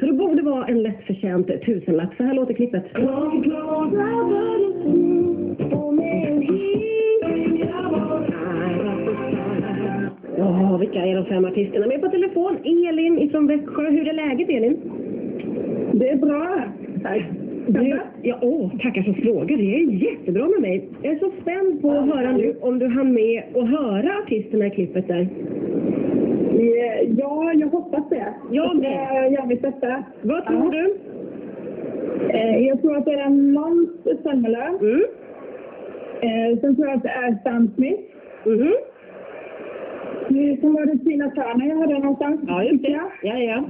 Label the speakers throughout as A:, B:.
A: Så det borde vara en lättförtjänt tusenlapp. Så här låter klippet. Ja, vilka är de fem artisterna? Med på telefon, Elin ifrån Växjö. Hur är läget, Elin? Det är bra. Tack. Du, ja, åh, tackar som frågar. Det är jättebra med mig. Jag är så spänd på att höra nu om du hann med att höra artisterna i klippet där.
B: Ja, jag hoppas det. Eh,
A: Jag med.
B: Jag är jävligt detta.
A: Vad tror du?
B: Eh, Jag tror att det är Måns Zelmerlöw.
A: Mm.
B: Eh, Sen tror jag att det är Stan Smith.
A: Mhm.
B: Eh, Sen var det Tina Turner jag hörde någonstans.
A: Ja, just det. Ja, ja.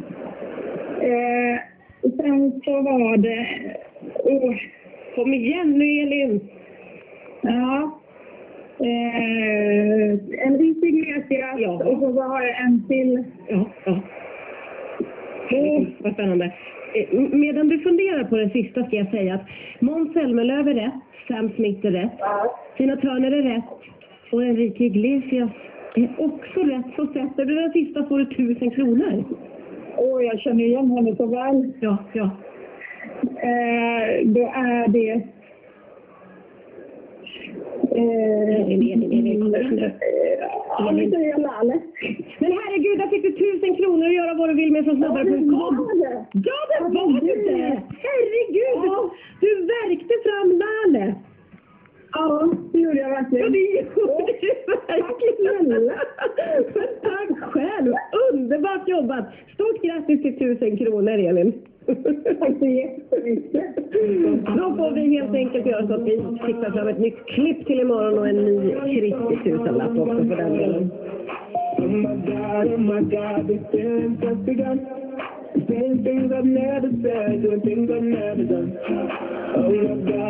B: Eh, Sen så var det... åh,
A: Kom igen nu, Elin.
B: ja. Eh, Enrique Iglesias.
A: Ja.
B: Och så var det en till.
A: Ja, ja. Åh, Mm. vad spännande. Eh, m- Medan du funderar på den sista ska jag säga att Måns Zelmerlöw är rätt, Sam Smith är rätt, Tina Turner är rätt och Enrique Iglesias är också rätt. Så sätter du den sista får du tusen kronor.
B: Åh, jag känner igen henne så väl.
A: Ja, ja.
B: Eh, då är det... Eh,
A: Elin, Elin, Elin, kom igen nu.
B: Ja, nu säger jag Laleh.
A: Men herregud, där fick du tusen kronor att göra vad du vill med från snabbare.com.
B: Laleh.
A: Ja, det var du det! Herregud! Du värkte fram Laleh.
B: Ja, det gjorde jag
A: Ja, det
B: verkligen.
A: gjorde du verkligen! Men tack själv! Underbart jobbat! Stort grattis till 1000 kronor, Elin!
B: Tack så jättemycket.
A: Då får vi helt enkelt göra så att vi siktar fram ett nytt klipp till imorgon och en ny kritisk tusenlapp också för den delen.
C: Oh my God, oh my God, this feeling's just begun. Saying things I've never said, doing things I've never done. Oh my God.